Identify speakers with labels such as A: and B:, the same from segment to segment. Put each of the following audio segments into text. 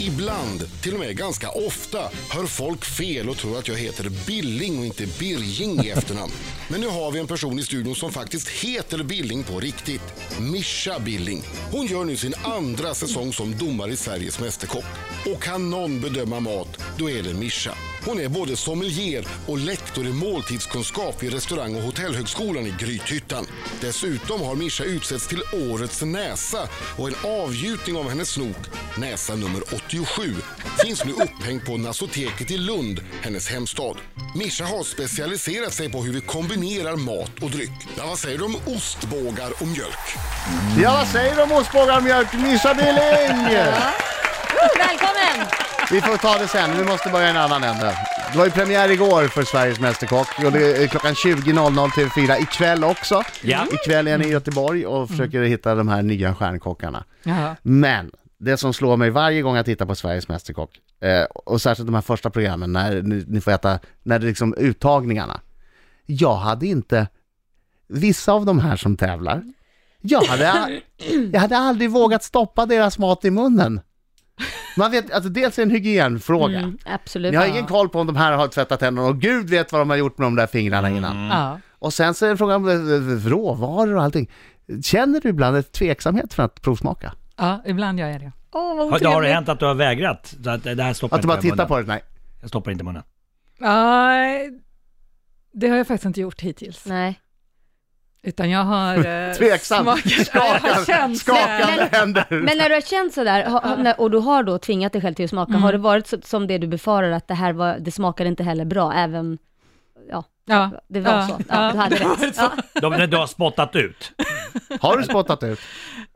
A: Ibland, till och med ganska ofta, hör folk fel och tror att jag heter Billing och inte Birging i efternamn. Men nu har vi en person i studion som faktiskt heter Billing på riktigt. Mischa Billing. Hon gör nu sin andra säsong som domare i Sveriges Mästerkock. Och kan någon bedöma mat, då är det Mischa. Hon är både sommelier och lektor i måltidskunskap vid restaurang och hotellhögskolan i Grythyttan. Dessutom har Mischa utsetts till årets näsa och en avgjutning av hennes snok, näsa nummer 87, finns nu upphängd på Nasoteket i Lund, hennes hemstad. Mischa har specialiserat sig på hur vi kombinerar mat och dryck. Ja, vad säger du om ostbågar och mjölk?
B: Ja, vad säger du om ostbågar och mjölk? Mischa Billing!
C: Välkommen!
B: Vi får ta det sen, vi måste börja i en annan ände. Det var ju premiär igår för Sveriges Mästerkock och det är klockan 20.00 till 4 ikväll också.
D: Ja.
B: Ikväll är ni i Göteborg och försöker hitta de här nya stjärnkockarna.
C: Jaha.
B: Men det som slår mig varje gång jag tittar på Sveriges Mästerkock, eh, och särskilt de här första programmen när ni, ni får äta, när det är liksom uttagningarna. Jag hade inte, vissa av de här som tävlar, jag hade, a- jag hade aldrig vågat stoppa deras mat i munnen. Man vet, alltså dels är det en hygienfråga.
D: Mm,
C: Absolut.
B: Ni har ingen koll på om de här har tvättat händerna och gud vet vad de har gjort med de där fingrarna innan.
E: Mm.
C: Ja.
B: Och sen så är det en fråga om eh, råvaror och allting. Känner du ibland ett tveksamhet för att provsmaka?
E: Ja, ibland gör jag det.
C: Åh, vad
D: Har, har det
C: otrevligt.
D: hänt att du har vägrat? Så att det det här stoppar
B: Att du
D: inte
B: bara
D: i
B: tittar
D: munnen.
B: på det? Nej.
D: Jag stoppar inte i munnen.
E: Ja, det har jag faktiskt inte gjort hittills.
C: Nej.
E: Utan jag har... eh,
B: Tveksam.
E: smakat- Ja, jag har känt
B: Skakande
C: Men-
B: händer.
C: Men när du har känt sådär, ha, ha- när- och du har då tvingat dig själv till att smaka,
E: Mm.
C: har det varit så, som det du befarar, att det här var, det smakade inte heller bra, även, ja,
E: Ja.
C: det var
E: Ja.
C: så. Ja,
E: Ja.
C: du hade
E: Det var
C: rätt.
E: så.
C: Ja.
D: De, när du har spottat ut.
B: Har du spottat ut?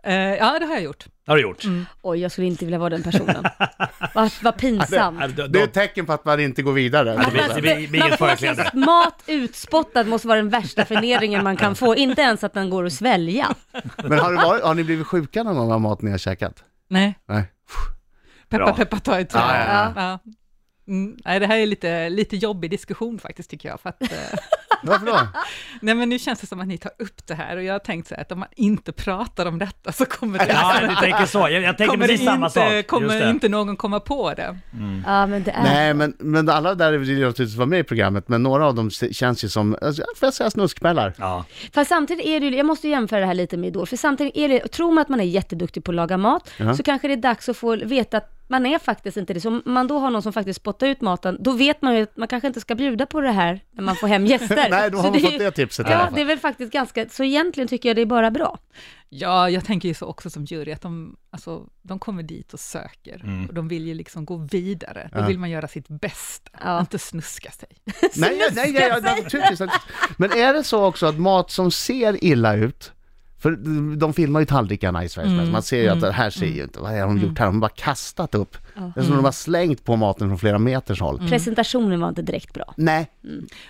E: Eh, ja, det har jag gjort.
D: Det har du gjort.
C: Oj, jag skulle inte vilja vara den personen. Vad vad pinsamt.
E: Mm.
D: Ja, de-
B: Det är
D: de-
B: ett tecken på att man inte går vidare.
D: det blir- det blir- det blir
C: Man
D: inget
C: får
D: förkläde.
C: sin mat utspottad måste vara den värsta förnedringen man kan få, inte ens att den går att svälja.
B: Men har, du varit, har ni blivit sjuka någon gång av mat ni har käkat?
E: Nej,
B: Nej.
E: peppa
D: Bra.
E: peppa ta i trä.
B: Ja,
C: ja,
E: Ja. Mm, nej, det här är lite, lite jobbig diskussion faktiskt tycker jag. För att, eh,
B: Varför då?
E: nej, men nu känns det som att ni tar upp det här och jag har tänkt så här att om man inte pratar om detta så kommer det,
D: Ja, du tänker så. Jag, jag tänker
E: kommer det
D: precis samma sak.
E: inte,
D: Just
E: kommer
D: det.
E: inte någon komma på det.
C: Ja, men det är...
B: Mm. Nej, men, men alla där vill ju naturligtvis vara med i programmet, men några av dem se- känns ju som, alltså, får jag säga snuskmällar?
D: Ja.
C: Fast samtidigt är det ju, jag måste ju jämföra det här lite med Idol, för samtidigt är det, tror man att man är jätteduktig på att laga mat,
B: Ja.
C: så kanske det är dags att få veta att man är faktiskt inte det. Så om man då har någon som faktiskt spottar ut maten, då vet man ju att man kanske inte ska bjuda på det här när man får hem gäster.
B: Nej, då har
C: så
B: man
C: är
B: fått
C: ju-
B: det tipset i alla
C: Ja,
B: fall.
C: det är väl faktiskt ganska, så egentligen tycker jag det är bara bra.
E: Ja, jag tänker ju så också som jury, att de, alltså, de kommer dit och söker, och de vill ju liksom gå vidare. Då
B: Mm. Ja.
E: vill man göra sitt bästa,
C: Ja.
E: inte snuska sig.
B: Nej, nej, nej, nej, naturligtvis. Men är det så också att mat som ser illa ut, för de filmar ju tallrikarna i Sveriges mm. Man ser ju att det här ser ju inte, vad har de gjort här? De har bara kastat upp. Det är som de har slängt på maten från flera meters håll.
E: Mm.
C: Presentationen var inte direkt bra.
B: Nej,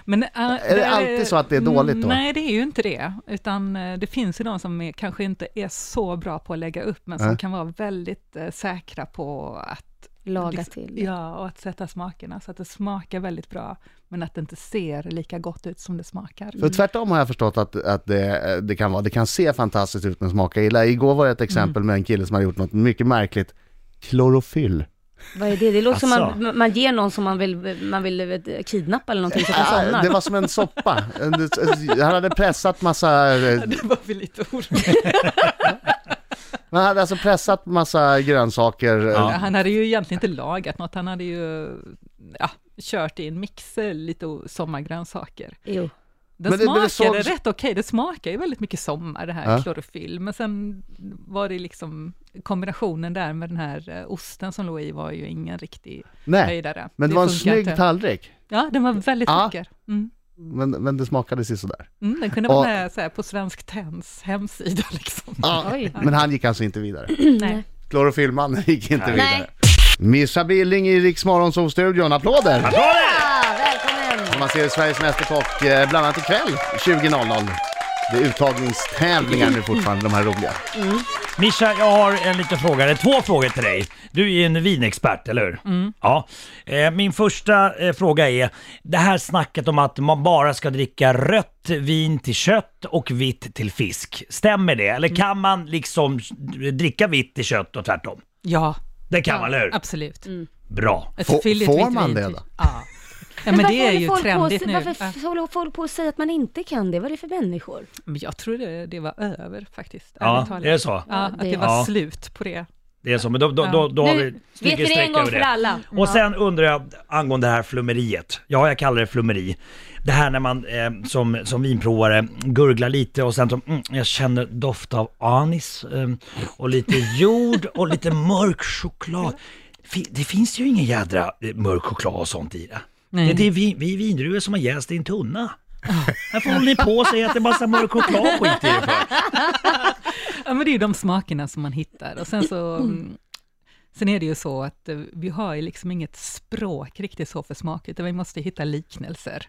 E: Men, äh,
B: Är det alltid så att det är dåligt då?
E: Nej, det är ju inte det. Utan eh, det finns ju de som är, kanske inte är så bra på att lägga upp, men som
B: Äh.
E: kan vara väldigt eh, säkra på att
C: Laga
E: liksom-
C: till.
E: Ja, och att sätta smakerna, så att det smakar väldigt bra, men att det inte ser lika gott ut som det smakar.
B: För tvärtom har jag förstått att, att det, eh, det kan vara, det kan se fantastiskt ut men smaka illa. Igår var det ett exempel med en kille som hade gjort något mycket märkligt. Klorofyll.
C: Vad är det? Det låter som
D: Asså.
B: Alltså.
C: man, man ger någon som man vill, man vill eh, kidnappa eller någonting så att den
B: Ah,
C: somnar.
B: det var som en soppa. En- Han hade pressat massa, eh,
E: Det var vi lite oroliga.
B: han hade alltså pressat massa grönsaker. eh,
D: Ja.
E: Han hade ju egentligen inte lagat något, han hade ju ja, kört i en mixer lite o- sommargrönsaker.
C: Jo.
E: Den
B: Men det- men
E: smakade
B: det såg-
E: rätt okej, det smakar ju väldigt mycket sommar det här
B: Ja.
E: klorofyll, men sen var det liksom kombinationen där med den här eh, osten som låg i var ju ingen riktig
B: Nej,
E: höjdare.
B: men det var en
E: funkar
B: snygg
E: inte.
B: tallrik.
E: Ja, den var väldigt
B: Ja.
E: vacker. Mm.
B: Men, men det smakade sig sådär.
E: Mm, den kunde
B: Och-
E: vara med så här, på Svensk Tenns hemsida liksom.
C: Oj.
B: Men han gick alltså inte vidare.
C: Mm,
E: Nej.
B: Klorofyllmannen gick inte
D: Nej.
B: vidare. Mischa Billing i Rix studion Applåder!
C: Ah, välkommen!
B: Om man ser Sveriges Mästerkock eh, bland annat ikväll 20.00. Det är uttagningstävlingar nu fortfarande, de här roliga.
D: Mischa, jag har en liten fråga, eller två frågor till dig. Du är ju en vinexpert, eller hur?
E: Mm.
D: Ja. Eh, Min första eh, fråga är, det här snacket om att man bara ska dricka rött vin till kött och vitt till
E: Mm.
D: fisk. Stämmer det? Eller kan man liksom dricka vitt till kött och tvärtom?
E: Ja,
D: Det kan man, eller hur?
E: Absolut.
D: Bra.
E: Ett
B: Får-
E: fylligt
B: får
E: vitt
B: man
E: vin
B: det
E: till-
B: då?
E: Ja. ja, men
C: varför
E: det är
C: håller
E: ju
C: folk på att
E: trendigt
C: se-
E: nu.
C: Varför
E: Ja.
C: f- håller folk på att säga att man inte kan det? Vad är det för människor?
E: Men jag trodde det var över faktiskt, ärligt
D: Ja,
E: talat.
D: det är så.
E: Ja, att det
C: Ja.
E: var
D: Ja.
E: slut på det.
D: Det är så, men då, då, då, då har vi
C: nu vet vi
D: strukit
C: det
D: streck
C: en gång
D: över
C: för
D: det. Mm.
C: alla.
D: Och sen undrar jag angående det här flummeriet. Ja, jag kallar det flummeri. Det här när man eh, som, som vinprovare gurglar lite och sen så, mm, jag känner doft av anis eh, och lite jord och lite mörk choklad. Fi- Det finns ju ingen jädra eh, mörk choklad och sånt i det.
E: Nej.
D: Det, det är vi, vi vindruvor som har jäst i en tunna. Här får ni på och säga att det är massa mörk choklad och skit i det för.
E: Ja, men det är ju de smakerna som man hittar. Och sen så... mm, Sen är det ju så att eh, vi har ju liksom inget språk riktigt så för smak, utan vi måste hitta liknelser.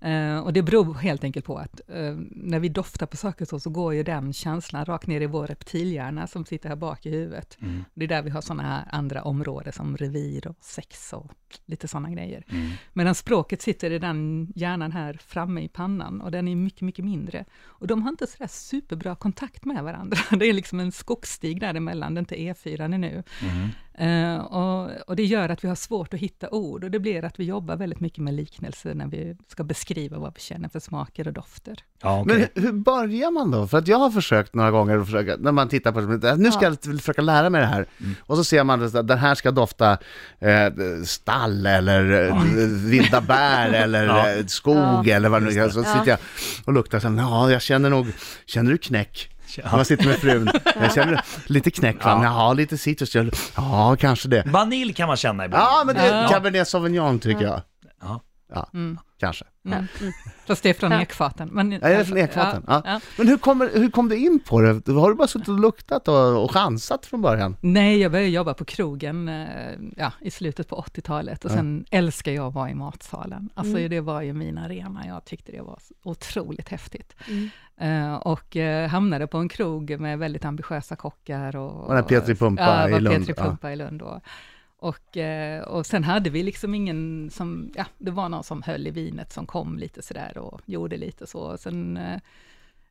E: Eh, och det beror helt enkelt på att eh, när vi doftar på saker så, så går ju den känslan rakt ner i vår reptilhjärna som sitter här bak i huvudet. Det är där vi har sådana här andra områden som revir och sex och lite sådana grejer. Medan språket sitter i den hjärnan här framme i pannan och den är mycket, mycket mindre. Och de har inte sådär superbra kontakt med varandra. Det är liksom en skogsstig däremellan, det är inte E4 nu. Eh, och, och det gör att vi har svårt att hitta ord och det blir att vi jobbar väldigt mycket med liknelser när vi ska beskriva vad vi känner för smaker och dofter.
D: Ja,
B: Men
D: okej.
B: hur, hur börjar man då? För att jag har försökt några gånger, att försöka, när man tittar på det, "Äh, nu ska jag försöka lära mig det här.
D: Mm.
B: Och så ser man att den här ska dofta eh, stall eller eh, vilda bär eller
D: Ja.
B: eh, skog eller vad det nu är. Så sitter jag och luktar så här, ja jag känner nog, känner du knäck? Man sitter med frun, jag känner lite knäck, ja. jaha lite citrus, Jag- ja kanske det.
D: Vanilj kan man känna ibland.
B: Ja men det är
E: Ja.
B: cabernet sauvignon tycker jag.
D: Ja. Mm.
B: Ja, kanske.
E: Mm. Fast det är från ekfaten. Men,
B: Ja, är det från ekfaten? Ja,
E: Ja, ja.
B: Men hur, kommer, hur kom du in på det? Har du bara suttit och luktat och, och chansat från början?
E: Nej, jag började jobba på krogen eh, ja, i slutet på 80-talet och sen älskar jag att vara i matsalen. Alltså
B: Mm.
E: det var ju min arena, jag tyckte det var så otroligt häftigt.
B: Mm.
E: Eh, och eh, hamnade på en krog med väldigt ambitiösa kockar. Och,
B: Var det Petri Pumpa
E: ja,
B: i
E: var
B: Lund?
E: Petri
B: Ja.
E: Pumpa i Lund då. Och, eh, och sen hade vi liksom ingen som, ja, det var någon som höll i vinet som kom lite sådär och gjorde lite så. Sen, eh,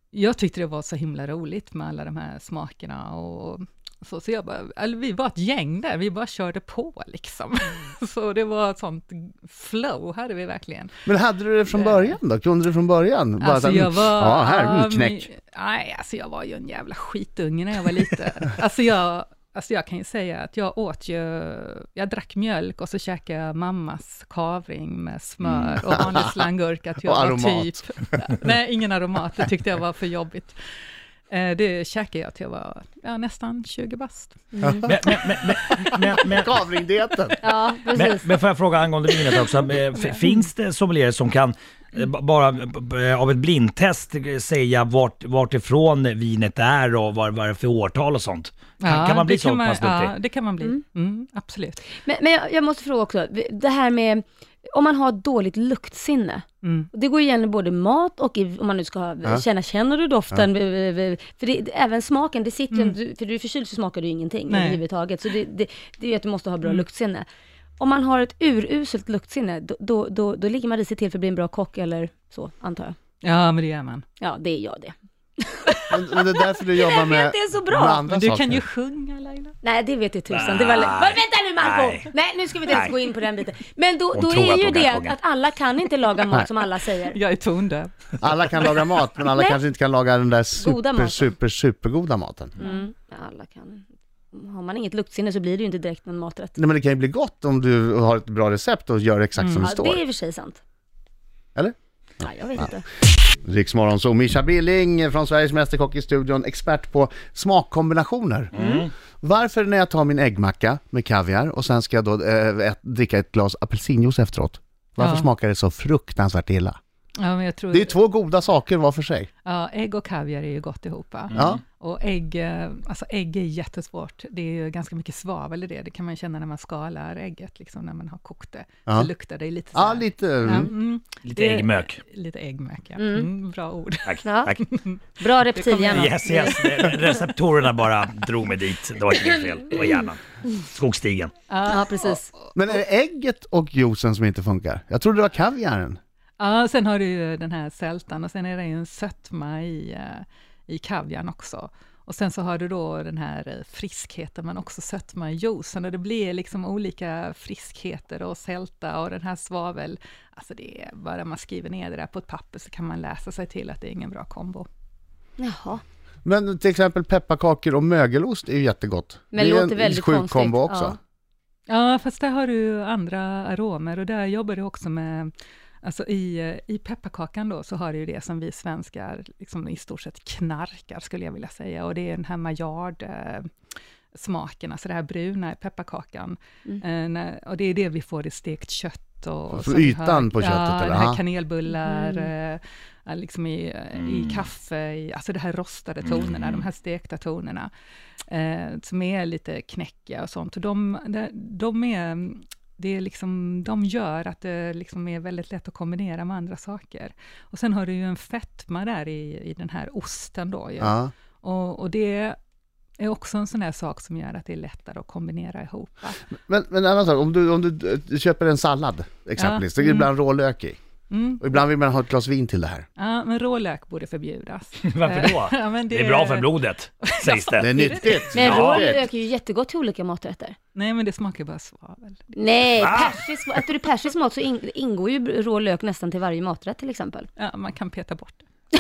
E: jag tyckte det var så himla roligt med alla de här smakerna och så, så jag bara, eller vi var ett gäng där, vi bara körde på liksom. Så det var ett sånt flow hade vi verkligen.
B: Men hade du det från början då? Kunde du från början?
C: Alltså,
B: Bara
E: Alltså,
B: så här, "Mm, Ja, här, mm, knäck.
E: men- Nej, alltså jag var ju en jävla skitunge när jag var liten. alltså, jag, alltså jag kan ju säga att jag åt ju, jag drack mjölk och så käkade jag mammas kavring med smör och vanlig slanggurka. Att jag
B: Mm. Och
E: var
B: aromat.
E: Typ, nej, ingen aromat, det tyckte jag var för jobbigt. Eh, Det käkade jag till jag var ja, nästan 20 bast.
D: Men, men, men, men, men, men,
B: Kavringdieten.
C: Ja,
D: Men,
C: precis.
D: men får jag fråga angående vinet också, eh, f- finns det sommelierer som kan eh, b- bara b- b- av ett blindtest eh, säga vart, vart ifrån vinet är och vad vad det är för årtal och sånt? Kan,
E: Ja,
D: kan man bli
E: det
D: så pass duktig?
E: Ja, det kan man bli. Mm, absolut.
C: Men, men jag, jag måste fråga också, det här med om man har dåligt luktsinne.
E: Mm.
C: Det går igen i både mat och i, om man nu ska ha-
B: Ja.
C: känna, känner du doften? För det, även smaken, det sitter ju, du- för du är förkyld så smakar du ingenting
E: Nej.
C: överhuvudtaget. Så det, det, det är ju att du måste ha bra luktsinne. Om man har ett uruselt luktsinne, då, då, då, då ligger man risigt till för att bli en bra kock eller så, antar jag.
E: Ja, men det gör man.
C: Ja, det är jag det.
B: Men, men det är därför du jobbar med,
C: det är så bra.
B: med andra
E: Men du
B: saker.
E: kan ju sjunga Laila.
C: Nej, det vet jag tusan. Det var... Var- Vänta nu Marco!
D: Nej.
C: Nej. nu ska vi inte ens
D: Nej.
C: gå in på den biten. Men då,
D: Hon
C: då
D: tror
C: är
D: att
C: ju
D: hon kan
C: det
D: sjunga.
C: att alla kan inte laga mat som alla säger.
E: Jag är tondöv.
B: Alla kan laga mat, men alla
C: Nej.
B: kanske inte kan laga den där
C: Goda
B: super,
C: maten.
B: super, supergoda maten.
C: Mm. Alla kan. Har man inget luktsinne så blir det ju inte direkt någon maträtt.
B: Nej, men det kan ju bli gott om du har ett bra recept och gör exakt som det
C: Mm. Ja, det
B: står.
C: är i och för sig sant.
B: Eller?
C: Ja, jag vet inte.
B: Riksmorgon, så Mischa Billing från Sveriges Mästerkock i studion, expert på smakkombinationer. Varför när jag tar min äggmacka med kaviar och sen ska jag då eh, ett, dricka ett glas apelsinjuice efteråt, varför
E: Ja.
B: smakar det så fruktansvärt illa?
E: Ja, men jag tror...
B: Det är ju två goda saker var för sig.
E: Ja, ägg och kaviar är ju gott ihop. va?
B: Ja.
E: Och ägg, eh, alltså ägg är jättesvårt. Det är ju ganska mycket svavel i det. Det kan man känna när man skalar ägget, liksom när man har kokt det.
B: Ja.
E: Så luktar det lite så
B: Ja,
E: här.
B: lite...
E: Ja,
B: Mm.
E: mm,
D: Lite
E: Det-
D: äggmök.
E: lite äggmöka. Mm. bra ord.
D: Tack,
C: Ja.
D: tack.
C: Bra reptilhjärna.
D: Yes, yes. Eh, Receptorerna bara drog mig dit. Det var inte mitt fel. Det var hjärnan. Skogsstigen.
C: Ja, precis.
B: Men är det ägget och juicen som inte funkar? Jag trodde det var kaviaren.
E: Ja, sen har du ju den här sältan och sen är det ju en sötma i, eh, i kaviarn också. Och sen så har du då den här eh, friskheten men också sötman i juicen och det blir liksom olika friskheter och sälta och den här svavel. Alltså det är bara man skriver ner det där på ett papper så kan man läsa sig till att det är ingen bra kombo.
C: Jaha.
B: Men till exempel pepparkakor och mögelost är ju jättegott.
C: Men
B: det är
C: låter väldigt
B: sjuk
C: konstigt,
B: kombo också.
C: ja.
E: Ja, fast där har du andra aromer och där jobbar du också med, alltså i, eh, i pepparkakan då så har du ju det som vi svenskar liksom i stort sett knarkar skulle jag vilja säga och det är den här maillard eh, smaken, alltså det här bruna i pepparkakan. Eh, när- och det är det vi får i stekt kött och...
B: För
E: som vi
B: ytan
E: har-
B: på köttet,
E: Ja,
B: eller?
E: det här
B: Ja.
E: kanelbullar, eh, eh, liksom i, eh,
D: Mm.
E: i kaffe, i, alltså det här rostade tonerna, de här stekta tonerna, eh, som är lite knäckiga och sånt. Och de, de, de är... Det är liksom, de gör att det liksom är väldigt lätt att kombinera med andra saker. Och sen har du ju en fetma där i, i den här osten då ju.
B: Ja.
E: Och, och det är också en sån här sak som gör att det är lättare att kombinera ihop. va?
B: Men, men en annan sak, om du, om du eh, köper en sallad exempelvis,
E: Ja,
B: det är
E: mm.
B: ibland rålök i.
E: Mm.
B: Och ibland vill man ha ett glas vin till det här.
E: Ja, men rålök borde förbjudas.
D: Varför då?
E: Ja, men
D: Det är bra för blodet, sägs
B: Det
D: det.
B: är nyttigt.
C: Men
D: Ja.
C: rålök är ju jättegott till olika maträtter.
E: Nej, men det smakar bara svavel.
C: Nej,
D: Va?
C: persisk, äter du persisk mat så ing, ingår ju rålök nästan till varje maträtt till exempel.
E: Ja, man kan peta bort det.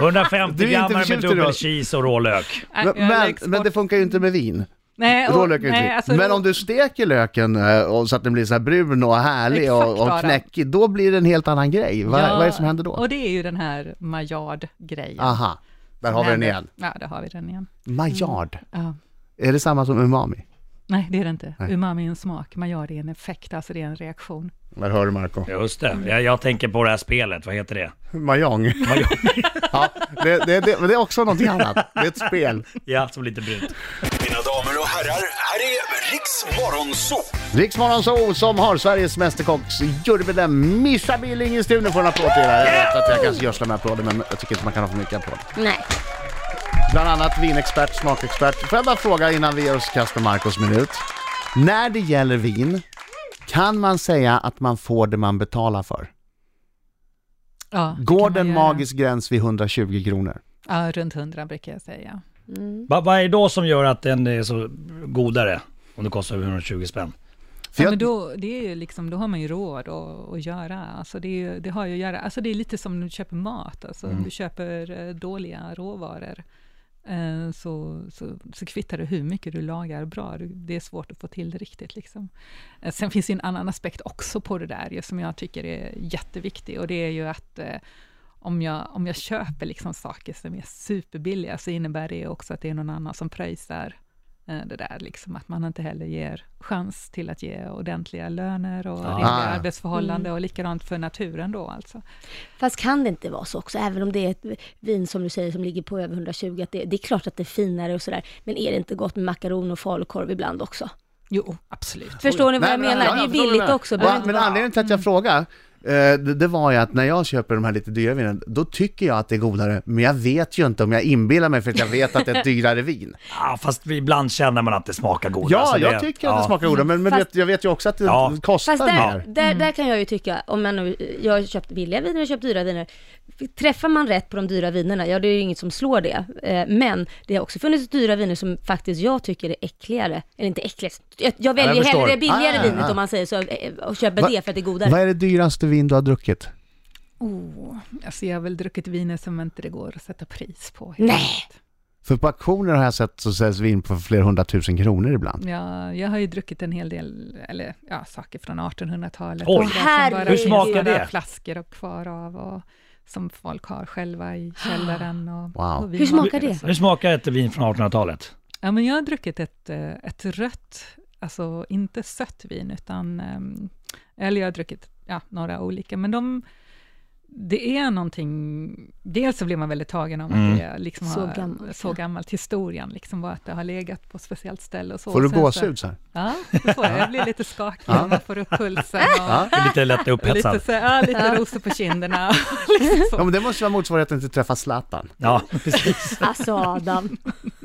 D: 150
B: Du är inte
D: grammar med
B: förtjust i
D: dubbel
B: rål-
D: cheese och rålök.
E: Nej,
B: Men,
E: Äh, jag
B: men,
E: läggs
B: men
E: bort.
B: det funkar ju inte med vin.
E: nej, och-
B: Rålök är ju inte
E: nej,
B: vin.
E: alltså,
B: Men om du steker löken eh, och så att den blir så här brun och härlig
E: Exakt,
B: och, och
E: Adam.
B: knäckig, då blir det en helt annan grej. Vad,
E: Ja,
B: vad är det som händer då?
E: Och det är ju den här maillard-grejen.
B: Aha, där har vi den
E: Men-
B: igen.
E: Ja, där har vi den igen.
B: Maillard,
E: Ja. Mm.
B: är det samma som umami?
E: Nej, det är det inte. Umami är en smak, maillard är en effekt, alltså det är en reaktion.
B: Där hör du Marco.
D: Just det. Jag, jag tänker på det här spelet, vad heter det?
B: Mahjong. ja, det, det, det, men det är också någonting annat. Det är ett spel.
D: Ja, som lite brunt.
F: Mina damer och herrar, här är Riks Morgonzoo!
B: Riksmorgon Zoo som har Sveriges Mästerkocks jurymedlem Mischa Billing i studion får en applåd till. Jag vet att jag kanske gödslar med applåder men jag tycker inte man kan ha för mycket applåder.
C: Nej.
B: Bland annat vinexpert, smakexpert. Får jag bara fråga innan vi ger oss i kast med Marcos minut. När det gäller vin, kan man säga att man får det man betalar för?
E: Ja, det
B: Går
E: kan man
B: det en
E: göra.
B: magisk gräns vid 120 kronor?
E: Ja, runt 100 brukar jag säga.
D: Va, vad är det då som gör att den är så godare? Om det kostar 120 spänn.
B: För
E: Ja,
B: jag-
E: men då, det är ju liksom, då har man ju råd att, att göra. Alltså det, är ju- det har ju att göra. Alltså det är lite som när du köper mat, alltså
B: Mm.
E: du köper eh, dåliga råvaror. eh, Så, så, så kvittar det hur mycket du lagar bra. Du- Det är svårt att få till det riktigt. Liksom. Eh, Sen finns det ju en annan aspekt också på det där, ju, som jag tycker är jätteviktig. Och det är ju att eh, om jag, om jag köper liksom saker som är superbilliga, så innebär det också att det är någon annan som pröjsar eh, det där, liksom, att man inte heller ger chans till att ge ordentliga löner och rimliga arbetsförhållanden och likadant för naturen då alltså.
C: Fast kan det inte vara så också, även om det är ett vin som du säger som ligger på över 120, att det, det är klart att det är finare och sådär, men är det inte gott med makaroner och falukorv ibland också?
E: Jo, absolut.
C: Förstår ni vad jag
B: Nej, men-
C: menar?
B: ja,
C: Det är
B: jag förstår vad du
C: billigt
B: menar.
C: också.
B: Ja,
C: behöver inte
B: men
C: vara- Mm.
B: anledningen till att jag frågade, eh, det, det var ju att när jag köper de här lite dyra vinen, då tycker jag att det är godare, men jag vet ju inte om jag inbillar mig för att jag vet att det är ett dyrare vin.
D: Ja, fast ibland känner man att det smakar godare.
B: Ja,
D: så det-
B: jag tycker att det
D: ja.
B: smakar godare, men, men
C: Fast-
B: vet, jag vet ju också att det
D: Ja.
B: kostar
C: Fast där,
B: mer.
C: där, där kan jag ju tycka, om man nu, jag har köpt billiga viner och köpt dyra viner. Träffar man rätt på de dyra vinerna, ja det är ju inget som slår det. Eh, Men det har också funnits dyra viner som faktiskt jag tycker är äckligare. Eller inte äckligast, jag, jag väljer
D: jag förstår.
C: hellre det billigare
B: Ah,
C: vinet
B: ah.
C: om man säger så eh, och köper
B: Va-
C: det för att det är godare.
B: Vad är det dyraste vin du har druckit?
E: Oh, alltså jag har väl druckit viner som inte det går att sätta pris på. helt
C: Nej!
E: enkelt.
B: För på auktioner har jag sett så säljs vin för flera hundratusen kronor ibland.
E: Ja, jag har ju druckit en hel del, eller ja, saker från 1800-talet.
D: Oj.
E: Och där som
C: Herregud.
E: bara
C: Hur
E: finns
D: smakar
E: några
D: det?
E: flaskor och kvar av och som folk har själva i källaren. Och,
B: Wow.
E: och
C: Hur smakar
E: vinbankar och
C: det?
E: så.
D: Hur smakar ett vin från 1800-talet?
E: Ja, men jag har druckit ett, eh, ett rött, alltså inte sött vin, utan... ehm, Eller jag har druckit ja, några olika, men de... Det är någonting... Dels så blir man väldigt tagen av
B: Mm.
E: att det liksom
C: Så
E: har,
C: gammalt,
E: så
C: ja.
E: gammalt. Historien liksom var att det har legat på ett speciellt ställe och så.
B: Får du
E: Och sen så-
B: gåshud så här?
E: Ja, det får jag. Jag blir lite skakig och man får upp pulsen och,
D: Det är lite lätt
E: och lite,
D: upphetsad.
E: så, ja, lite rosor på kinderna. och liksom
B: Ja
E: så.
B: men det måste ju vara motsvarigheten till träffa Zlatan.
D: Ja, precis.
C: Alltså Adam,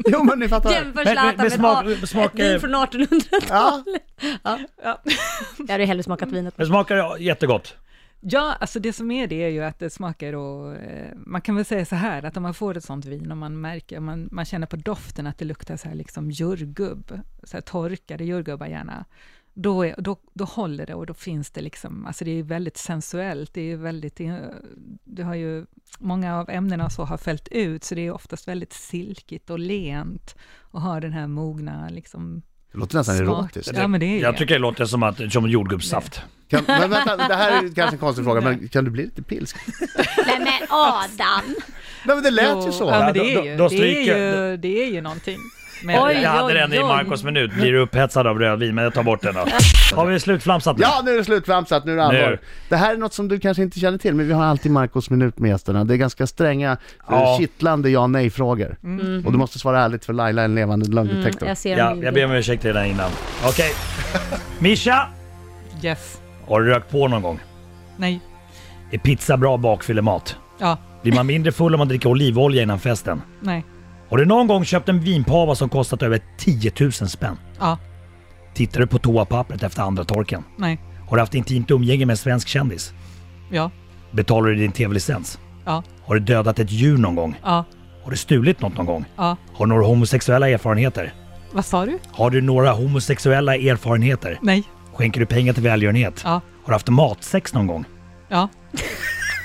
B: Jo men ni fattar.
C: jämför
D: Men- men-
C: Zlatan
D: men
C: med
D: smak-
C: ett
D: smakar-
C: vin från 1800-talet.
B: Ja.
C: Jag hade ju hellre smakat vinet.
D: Det smakar jättegott.
E: Ja, alltså det som är det är ju att det smakar och eh, man kan väl säga så här att om man får ett sånt vin och man märker, man, man känner på doften att det luktar så här liksom jordgubb, så här torkade jordgubbar gärna, då, är, då, då håller det och då finns det liksom, alltså det är väldigt sensuellt, det är ju väldigt, eh, det är- du har ju, många av ämnena och så har fällt ut, så det är oftast väldigt silkigt och lent och har den här mogna liksom
B: Det låter nästan erotiskt.
E: Ja, men det är
D: Jag
E: det.
D: tycker det låter som, att, som jordgubbssaft.
B: Kan, men vänta, det här är kanske en konstig fråga, men kan du bli lite pilsk?
C: Nej men Adam!
B: Nej men det lät ju
E: Jo, Ja,
B: så.
E: men det är
D: Då-
E: ju,
D: då
E: det
D: stryker-
E: är ju, det är ju någonting. med
D: Jag
C: Oj,
E: det.
D: hade
C: oj,
D: den i
C: oj.
D: Marcos minut. Blir du upphetsad av rödvin? Men jag tar bort den då. Har vi slutflamsat nu?
B: Ja, nu är det slutflamsat, nu är det
D: Nu.
B: allvar. Det här är något som du kanske inte känner till, men vi har alltid Marcos minut med gästerna. Det är ganska stränga,
D: Ja.
B: ja. kittlande ja nej-frågor. Och du måste svara ärligt för Laila är en levande lögndetektor.
C: Jag ser
D: Ja,
C: honom
D: jag ber om ursäkt redan innan. Okej. Mischa,
E: Yes.
D: har du rökt på någon gång?
E: Nej.
D: Är pizza bra bakfyllemat?
E: Ja.
D: Blir man mindre full om man dricker olivolja innan festen?
E: Nej.
D: Har du någon gång köpt en vinpava som kostat över 10 000 spänn?
E: Ja.
D: Tittar du på toapappret efter andra torken?
E: Nej.
D: Har du haft intimt umgänge med en svensk kändis?
E: Ja.
D: Betalar du din tv-licens?
E: Ja.
D: Har du dödat ett djur någon gång?
E: Ja.
D: Har du stulit något någon gång?
E: Ja.
D: Har du några homosexuella erfarenheter?
E: Vad sa du?
D: Har du några homosexuella erfarenheter?
E: Nej.
D: Skänker du pengar till välgörenhet?
E: Ja.
D: Har du haft matsex någon gång?
E: Ja.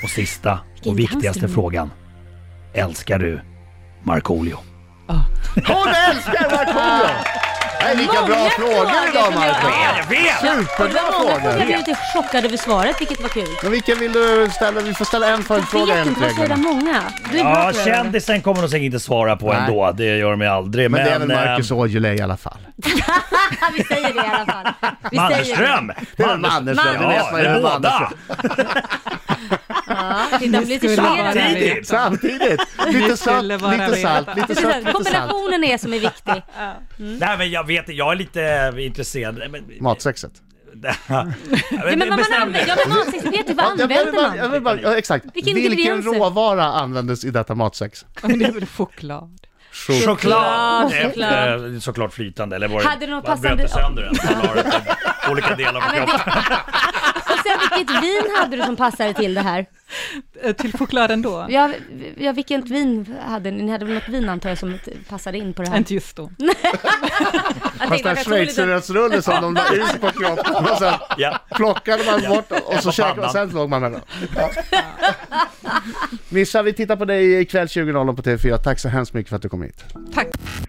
D: Och sista
C: Vilken
D: och viktigaste
C: dansning.
D: frågan. Älskar du Markoolio?
B: Hon älskar Markoolio! Det är lika bra
C: Många
B: frågor
C: frågor
B: idag
C: som jag
B: Marko.
C: har.
D: Jag vet!
C: Och det
B: Superbra
C: var många frågor. Jag
B: frågor!
C: blev lite chockad över svaret, vilket var kul.
B: Men vilken vill du ställa? Vi får ställa en
C: Jag
B: följdfråga
C: vet
B: enligt
C: inte, vad säger
B: reglerna.
C: många? Du är bra
D: Ja,
C: på det.
D: kändisen kommer de säkert inte svara på
B: Nej.
D: ändå. Det gör de ju aldrig.
B: Men det är väl Marcus
D: eh,
B: Aujalay i alla fall.
C: Ja, vi säger det i alla fall. Vi Säger
D: Mannerström!
B: Det är väl Mannerström, det
D: Ja,
B: vet man ju.
D: det
B: det
D: är
B: är
D: båda!
B: Mannerström.
C: det. Ja, titta, de blir lite
E: Skulle vara
C: förvirrade.
D: Samtidigt.
E: det.
B: Samtidigt! Lite salt,
E: skulle bara
B: lite salt,
E: veta.
B: lite sött, lite salt.
C: Kombinationen är som är viktig.
D: Nej men jag vet jag är lite eh, intresserad. Nej, Men,
B: Matsexet.
D: Ja, men,
C: Ja, men vad man
D: bestäm
C: använder,
D: dig.
C: ja men matsex-Peter, vad
B: Ja, jag vill
C: använder
B: bara- jag
C: man?
B: vill bara- ja, Exakt.
C: Vilken
B: Vilken
C: ingredienser?
B: råvara användes i detta matsex?
E: Men det är väl choklad?
D: Choklad!
C: Choklad,
D: Efter,
C: choklad.
D: eh, såklart flytande, eller var det...
C: Hade du något
D: man bröt det
C: passande-
D: sönder den. Man har det- Olika delar av kroppen.
C: Och sen vilket vin hade du som passade till det här?
E: Eh, Till choklad ändå?
C: Ja, ja vilket vin hade ni? Ni hade väl något vin antar jag som passade in på det här?
E: Inte just då.
C: Jag
B: Fast den
C: tänkte att jag tog lite-
B: schweizerrättsrulle som de la is på kroppen och sen
D: Ja.
B: plockade man bort och så
D: på
B: käkade
D: pannan.
B: och sen låg man med den. Mischa, vi tittar på dig ikväll 20.00 på TV4. Tack så hemskt mycket för att du kom hit.
E: Tack.